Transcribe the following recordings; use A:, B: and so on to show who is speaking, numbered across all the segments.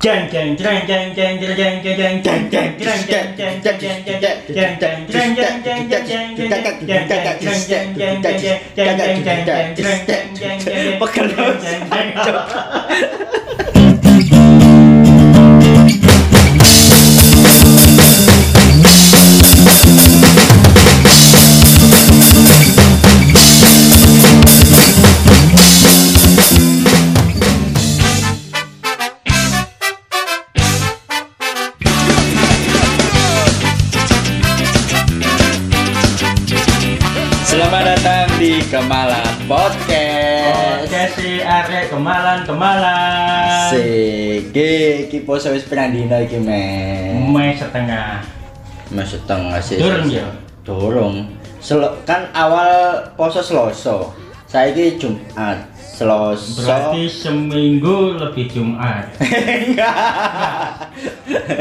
A: Jeng jeng jeng jeng jeng jeng jeng jeng jeng jeng jeng jeng jeng jeng jeng jeng jeng jeng jeng jeng jeng jeng jeng jeng jeng jeng jeng jeng jeng
B: Selamat datang di Kemala Podcast.
A: Podcast si arek kemalan kemalan
B: Sik, iki poso wis pirang dina iki, men.
A: Mei setengah
B: Mas setengah sih.
A: Durung ya?
B: Durung. Sel- kan awal poso Selasa. Saiki Jumat. Selasa.
A: Berarti seminggu lebih Jumat
B: Enggak.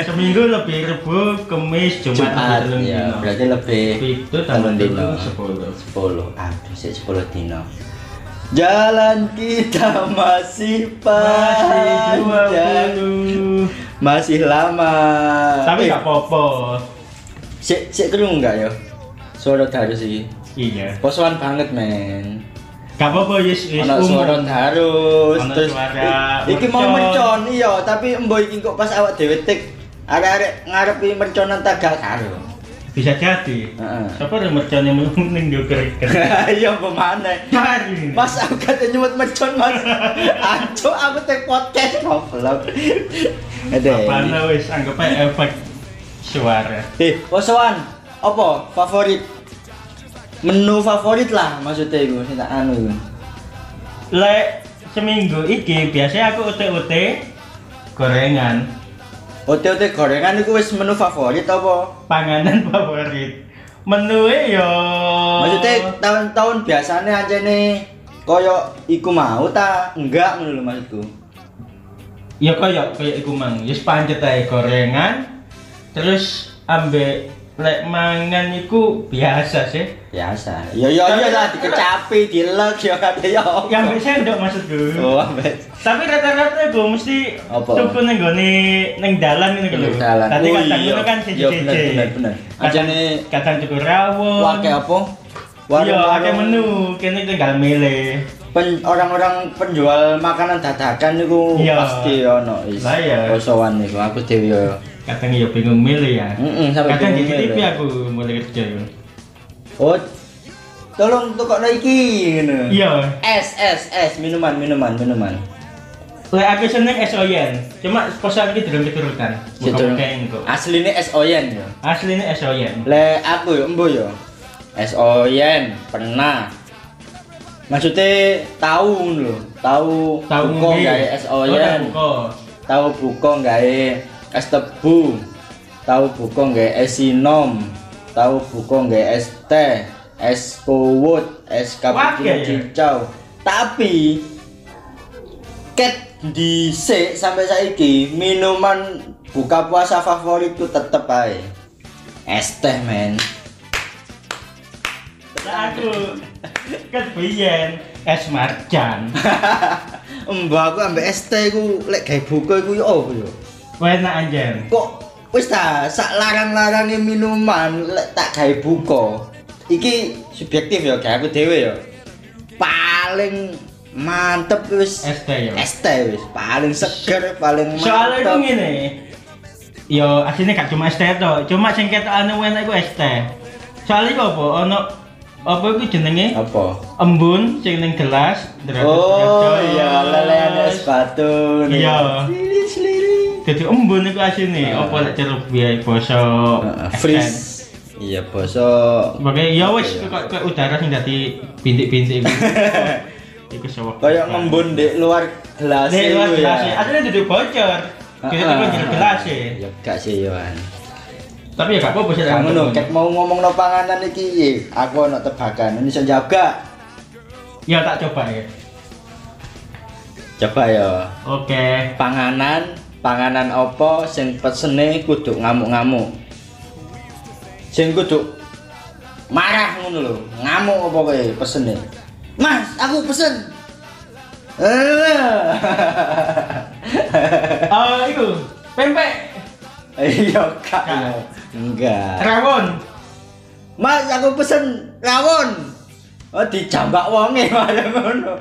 A: Seminggu lebih Rebu, Kemis, Jumat,
B: Jumat
A: Telung
B: ya,
A: Dino.
B: berarti lebih
A: Pitu tambah
B: telung
A: dino
B: dina.
A: sepuluh
B: 10 aduh sik 10 dino jalan kita masih
A: Masih dua
B: panjang
A: puluh
B: masih lama
A: Tapi
B: Eh,
A: gak popo
B: sik sik kerung enggak yo suara daru sih
A: Iya
B: posoan banget men
A: Gak popo yes yes
B: ana suara
A: umum
B: darus
A: Ana
B: terus
A: suara
B: i- iki mau
A: mercon.
B: mercon iya tapi embo iki kok pas awak dhewe tik arek-arek ngarepi merconan tagal karo
A: Bisa jadi
B: Heeh.
A: Siapa yang merconnya mending juga
B: iya apa maneh
A: Mari
B: Mas aku kata nyemut mercon mas Anco aku take podcast Goblok Ada
A: Apaan wis anggap aja efek suara
B: Eh, Osoan Apa favorit? Menu favorit lah maksudnya itu Sing tak anu itu
A: Lek seminggu iki biasanya aku ut-ut gorengan
B: Ote-ote gorengan itu wis menu favorit apa?
A: panganan favorit menu yo Oh.
B: Maksudnya tahun-tahun biasanya aja nih Koyo iku mau ta? Enggak ngono lho maksudku
A: ya kaya kaya iku mang ya pancet ae gorengan terus ambek lek mangan iku biasa sih
B: Biasa Yo yo yo lah dikecapi, dilek yo kate yo
A: yang ambek sendok maksudku
B: Oh, bet
A: tapi rata-rata gue mesti
B: Apa?
A: tuku neng gone neng dalan ini
B: Neng dalan.
A: Tadi
B: Oh,
A: kadang
B: iya.
A: itu kan
B: Iya,
A: siji
B: bener, bener, bener. Ajane-
A: kadang cukup rawon.
B: Wake apa?
A: Oh. Iya, akeh
B: Warung-warung-
A: menu, kene tinggal milih.
B: Pen- orang-orang penjual makanan dadakan niku
A: Iya.
B: pasti ono is.
A: Lah iya.
B: Posoan niku aku dhewe yo.
A: Kadang ya bingung milih ya.
B: Heeh, sampe
A: Kadang di
B: bingung
A: TV
B: milih.
A: aku mulai kerja. yo.
B: Oh. Tolong tukokno iki ngono.
A: Iya,
B: Es, es, es, minuman, minuman, minuman.
A: Lek aku seneng es oyen, cuma posan iki durung keturutan. Bukan kain kok.
B: Asline es oyen yo.
A: Asline es oyen.
B: Le aku yo embo yo. Es oyen pernah. Maksudnya tahu ngono lho, tahu
A: Tahu
B: buko gawe es
A: Oh,
B: oyen. tahu buko nggae es tebu tahu buko nggae es sinom tahu buko nggae es teh es kuwut es cappuccino
A: Wah, iya, iya.
B: hijau tapi ket dhisik sampai saiki minuman buka puasa favoritku tetep ae es teh men
A: Lek aku ket biyen es marjan.
B: mbak aku ambek es teh ku lek gawe buka iku yo apa yo
A: Enak anjen.
B: kok wis ta sak larang-larange minuman lek tak gawe buka iki subjektif ya gawe aku dhewe ya paling mantep wis
A: Es teh yo.
B: es teh wis paling seger paling
A: ya? Soalnya itu
B: mantep
A: ngene. Yo aslinya gak cuma es teh tok, cuma sing ketokane enak iku es teh. Soalnya iku apa? Ono apa iku jenenge?
B: apa
A: Embun sing ning gelas.
B: oh
A: deratus-deratus.
B: iya lelehan es batu nih.
A: Iya.
B: Sliris, sliris.
A: Jadi embun iku asine,
B: Heeh.
A: apa lek celup biaya basa
B: Heeh,
A: es
B: Ah. freeze
A: teh.
B: iya boso
A: Sebagai ya wis kok kok udara sing dadi bintik-bintik iku. Iku sewek.
B: kayak ngembun di luar gelas
A: Nek luar
B: itu ya. Ah,
A: gelas. Asline duduk bocor. Kita
B: Heeh.
A: tuh jadi gelas ya.
B: ya gak sih Yohan
A: Tapi ya gak apa-apa sih.
B: Kamu no, ket mau ngomong no panganan iki, ye. aku ono tebakan, ini bisa jaga.
A: Ya tak coba ya.
B: Coba ya,
A: Oke.
B: panganan, panganan opo sing pesene kudu ngamuk-ngamuk. Sing kudu marah ngono lho, ngamuk apa kowe pesene? Mas, aku pesen. Eh.
A: Eh, iku pempek
B: Iya, Kak.
A: Kak.
B: Enggak.
A: rawon.
B: Mas, aku pesen rawon. Oh, dijambak wonge malah ngono.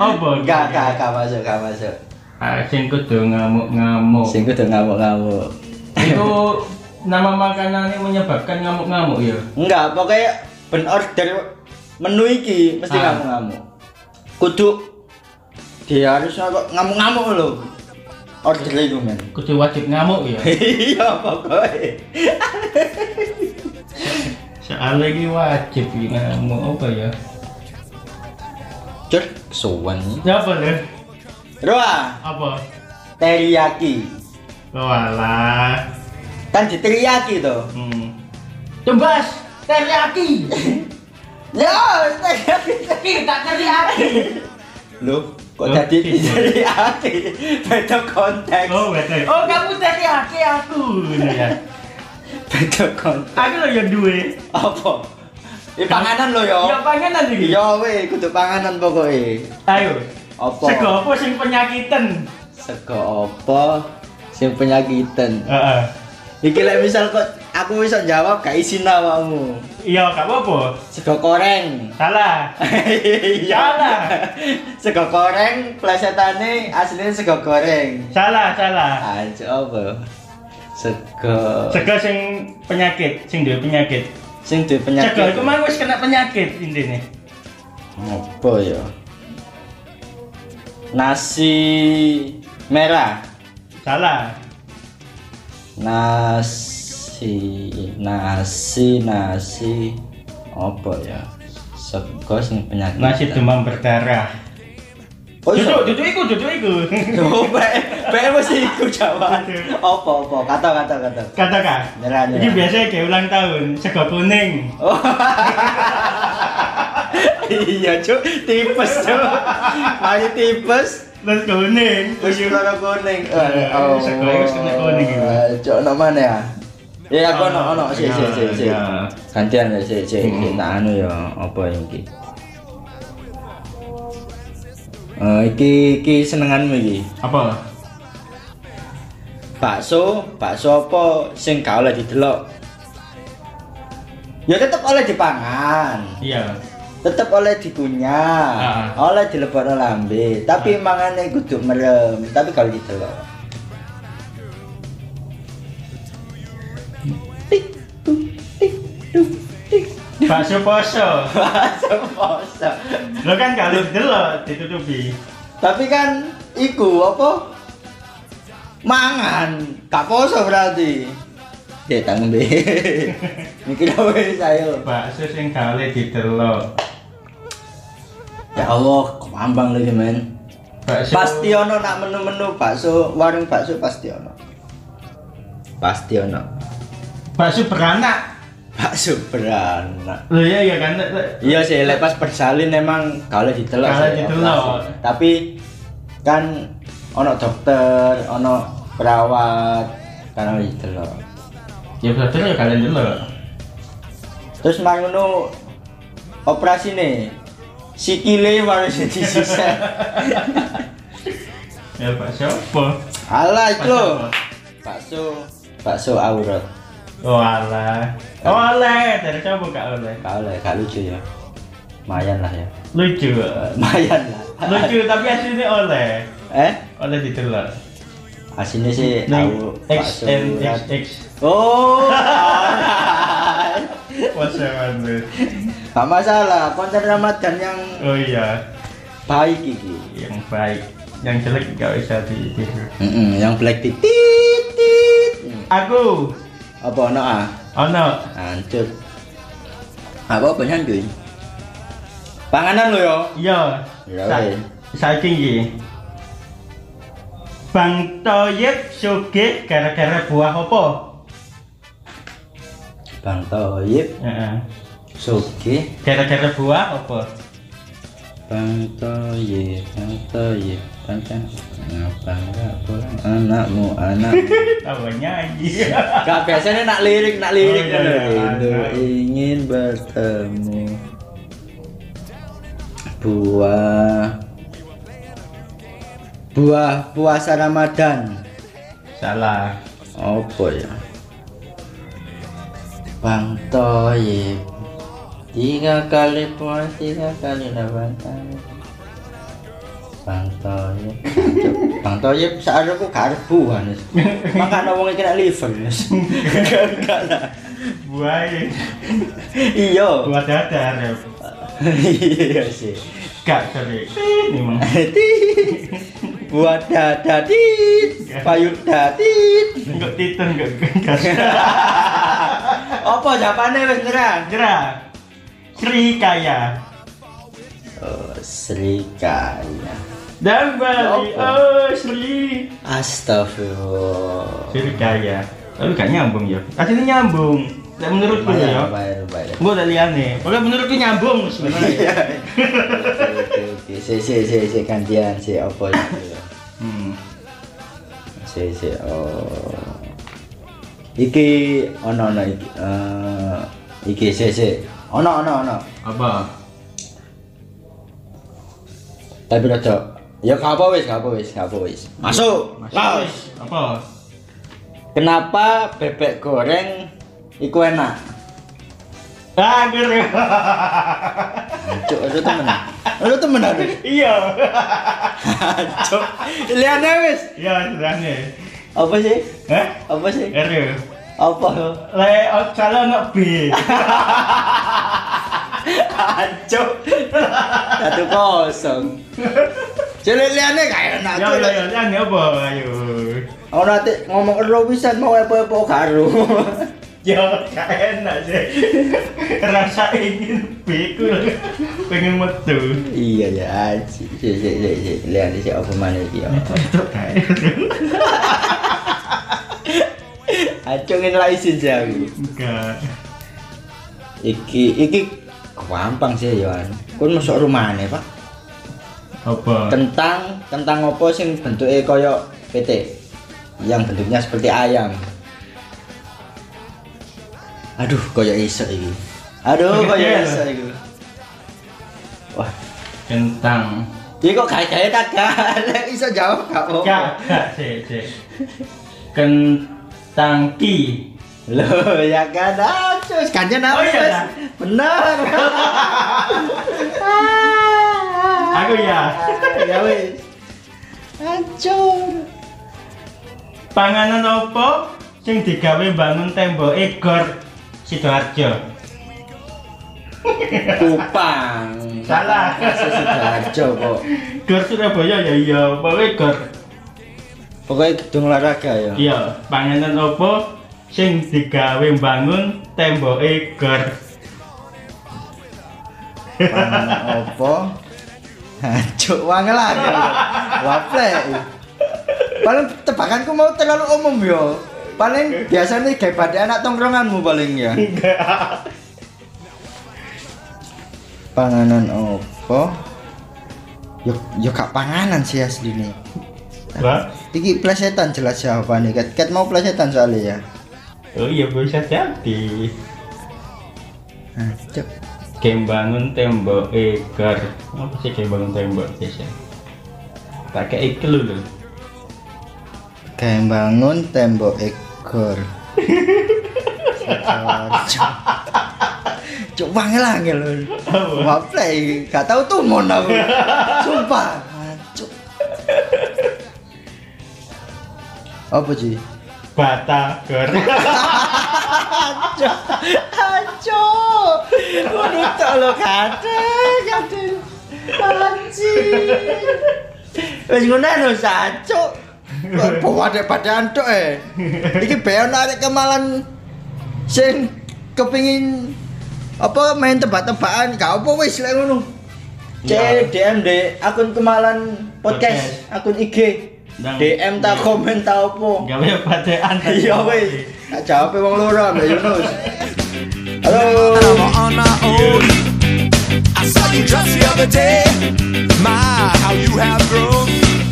A: Apa?
B: Enggak, enggak, enggak masuk, enggak masuk.
A: Ah, sing kudu ngamuk-ngamuk.
B: Sing kudu ngamuk-ngamuk.
A: Itu nama makanan yang menyebabkan ngamuk-ngamuk ya.
B: Enggak, pokoknya ben order menu iki mesti
A: Ah.
B: ngamuk-ngamuk. Kudu dia harus kok ngamuk-ngamuk lho. Order itu men.
A: Kudu wajib ngamuk ya.
B: Iya, pokoknya.
A: Soalnya ini wajib ini ngamuk apa ya?
B: Cur, kesuwen.
A: Ya apa lho?
B: Roa,
A: Apa?
B: teriyaki.
A: Walah.
B: Kan di teriyaki tuh.
A: Hmm. Jembas teriyaki.
B: Ya, teriyaki.
A: Kita teriyaki.
B: Loh, kok
A: Loh,
B: jadi
A: iya.
B: teriyaki? Beda konteks.
A: Oh, betul. Oh, kamu teriyaki aku. Gitu ya.
B: Beda konteks.
A: Aku lho yang duwe.
B: Apa? Ini panganan lo yo.
A: Ya panganan iki.
B: Yo we, kudu panganan pokoknya.
A: Ayo.
B: Apa?
A: Sego apa sing penyakitan?
B: Sego apa sing penyakitan?
A: Heeh.
B: Iki lek misal kok aku bisa jawab gak isin awakmu.
A: Iya, gak apa-apa.
B: Sego koreng.
A: Salah. Salah.
B: Iya. sego koreng plesetane asline sego goreng.
A: Salah, salah.
B: Anjir apa? Sego
A: Sego sing penyakit, sing duwe penyakit.
B: sing duwe penyakit.
A: Sego iku mah wis kena penyakit intine.
B: Apa ya? Nasi merah.
A: Salah.
B: Nasi nasi nasi apa ya? Sego sing penyakit.
A: Nasi demam berdarah.
B: Iya. Oh, iya.
A: Duduk, duduk iku, duduk iku.
B: Oh, bae, bae mesti iku jawaban. Apa apa? Kata kata kata.
A: Kata kak.
B: Nyerah, nyerah.
A: Ini biasanya kayak ulang tahun, sego kuning.
B: Oh. iya, Cuk. Tipes, Cuk. Mari tipes.
A: Terus kuning.
B: Wis loro kuning. Oh.
A: Iya, wis kuning, wis kena kuning iki. Ah,
B: Ah, Cuk, ono mana ya? Ya, aku ono ono sik sik sik sik.
A: Iya.
B: Gantian ya sik sik
A: Hmm.
B: sik. tak anu ya apa iki? Eh, iki iki senenganmu iki.
A: Apa?
B: bakso bakso apa sing gak oleh didelok ya tetep oleh dipangan
A: Iya.
B: tetep oleh dikunyah
A: Ah.
B: oleh dilebokno lambe tapi mangane kudu merem tapi kalau didelok
A: Bakso poso.
B: bakso poso
A: Lo kan gak lihat delok ditutupi.
B: tapi kan iku apa mangan gak poso berarti ya tanggung be mikir apa saya
A: Bakso sing gak oleh didelok.
B: ya Allah kambang lagi men
A: Bakso
B: pasti ono nak menu-menu bakso warung bakso pasti ono pasti ono
A: bakso beranak.
B: bakso beranak
A: Lo ya ya kan. Lek- lek-
B: iya sih lepas bersalin emang kalau ditelok
A: Kalau
B: sih,
A: ditelok.
B: operasi. tapi kan ono dokter ono perawat karena ditelok
A: Ya betul ya kalian delok.
B: terus mangono operasi nih sikile harus disisa
A: Ya bakso apa?
B: alah itu
A: Bakso
B: loh.
A: apa?
B: bakso bakso aurat
A: Walah. Oh, Oleh, dari siapa gak oleh?
B: kalau gak lucu ya lumayan lah ya
A: Lucu.
B: lumayan lah
A: Lucu tapi aslinya oleh.
B: eh
A: Oleh didelok.
B: aslinya sih tahu
A: Ning X
B: bakso
A: N X
B: urat.
A: X.
B: oh
A: Posoan lu.
B: gak masalah konten ramadan yang
A: Oh iya,
B: baik iki
A: yang baik. Yang jelek gak bisa ditiru.
B: Mm-mm, yang black tit tit tit.
A: Aku oh,
B: apa ono ah
A: ono
B: hancur apa apa nyanyi panganan lo yo
A: iya.
B: Ya,
A: Sa-
B: weh.
A: Saiki iki. Bang Toyib sugih gara-gara buah apa?
B: bang toyib
A: Heeh.
B: suki
A: Gara-gara buah apa?
B: bang toyib bang toyib bang toyib ngapa nggak pulang anakmu anak
A: Tahu nyanyi.
B: Gak biasanya nak lirik, nak
A: Oh,
B: lirik
A: iya,
B: ngono.
A: iya,
B: Rindu
A: iya.
B: ingin bertemu buah buah puasa Ramadan
A: Salah.
B: apa ya Bang Toyib tiga kali puas tiga kali lawan kali Bang Toyib Bang Toyib seharusnya aku gak ada buah nis makan orang kena liver nis Enggak, enggak lah
A: Buah ya.
B: iya
A: Buah dadar ya.
B: iya sih
A: Gak sorry. Ini mang.
B: Tit. buat dada tit payut datit
A: Enggak titen enggak gas.
B: apa jawabannya wis terang
A: Jerah. Sri Kaya.
B: oh, serikaya
A: Dan Bali.
B: Apa?
A: Oh Sri.
B: Astagfirullah.
A: Sri Kaya. Tapi gak nyambung ya. Aslinya nyambung. Lek menurutku
B: Bayar,
A: ya.
B: bayar, bayar.
A: Gue udah liane. Pokoknya menurutku nyambung sebenarnya.
B: Iya. Oke, oke. Si, si, si, si, gantian, si, apa itu?
A: Hmm.
B: Si, si, oh. Iki, ono, ono, iki, eh, iki, si, si. Ono, ono, ono.
A: Apa?
B: Tapi rada, ya gak apa wis, gak apa wis, gak apa wis. Masuk.
A: Masuk.
B: Laos.
A: Apa?
B: Kenapa bebek goreng iku enak?
A: Ah, ngeri.
B: Cuk, itu temen. Itu temen aku.
A: Iya.
B: Cuk. Liane wis.
A: Iya, sebenarnya.
B: Apa sih?
A: Hah?
B: Apa sih?
A: Ngeri.
B: Apa?
A: Le, oh, salah nggak B.
B: Ancuk. Satu kosong. Jadi liane gak enak
A: Ya,
B: tuh.
A: ya, ya, liane apa? Ayo.
B: Orang nanti ngomong ero bisa mau apa-apa karo.
A: Ya, gak enak sih. Rasa ingin B ku lho. pengen metu.
B: Iya ya, aji. Si si si si liane si apa mana iki ya.
A: Itu kayak.
B: Ancuk ngelai sih aku.
A: Enggak.
B: Iki iki gampang sih ya, Yohan. Kun masuk rumahnya Pak.
A: Apa?
B: Kentang, kentang apa sing bentuknya koyo PT? Yang bentuknya seperti ayam. Aduh, koyo iso iki. Aduh, koyo iso iki. Wah,
A: Kentang.
B: iki kok gaya-gaya kagak. iso jawab gak apa-apa.
A: Gak, gak, sih, sih. Kentang ki.
B: Loh, ya kan acus gantian
A: Oh,
B: apa?
A: iya,
B: Mas?
A: dah.
B: Bener.
A: Aku ya.
B: ya wis. Hancur.
A: Panganan apa sing digawe bangun tembok Igor Sidoarjo?
B: Kupang.
A: Salah.
B: Kasih Sidoarjo kok.
A: Gor Surabaya ya iya, bawe gor.
B: Pokoknya gedung olahraga ya.
A: Iya, panganan apa sing digawe bangun tembok Igor?
B: Panganan opo? Hancur wangel aja. Waple. Paling tebakanku mau terlalu umum yo. Paling biasanya kayak pada anak tongkronganmu paling ya. Panganan opo? Yo yo gak panganan sih aslinya.
A: Wah.
B: Iki plesetan jelas jawabannya. Kat, kat mau plesetan soalnya ya.
A: Oh iya bisa jadi.
B: Hancur.
A: Game bangun tembok Igor. Apa sih game bangun tembok biasa? Pakai iklu lho.
B: Kayak bangun tembok ekor. Cuk, Cuk wangel angel lho. Waple gak tau tuh mon aku. Sumpah. Cuk. Apa sih?
A: Bata gor.
B: Cuk. Cuk. Waduh tok lo kate kate. Anjing. Wis ngono lho sancuk. Kok bawa dek badan tok eh. Iki beon arek kemalan sing kepingin apa main tebak-tebakan gak apa wis lek ngono.
A: Ya.
B: DM dek akun kemalan podcast, akun IG.
A: Ndang.
B: DM tak komen tak apa.
A: Gawe padean.
B: Iya wis. Tak jawab wong loro Mbak Yunus. Halo.
C: and I'm on my own. I saw you just the other day. My, how you have grown.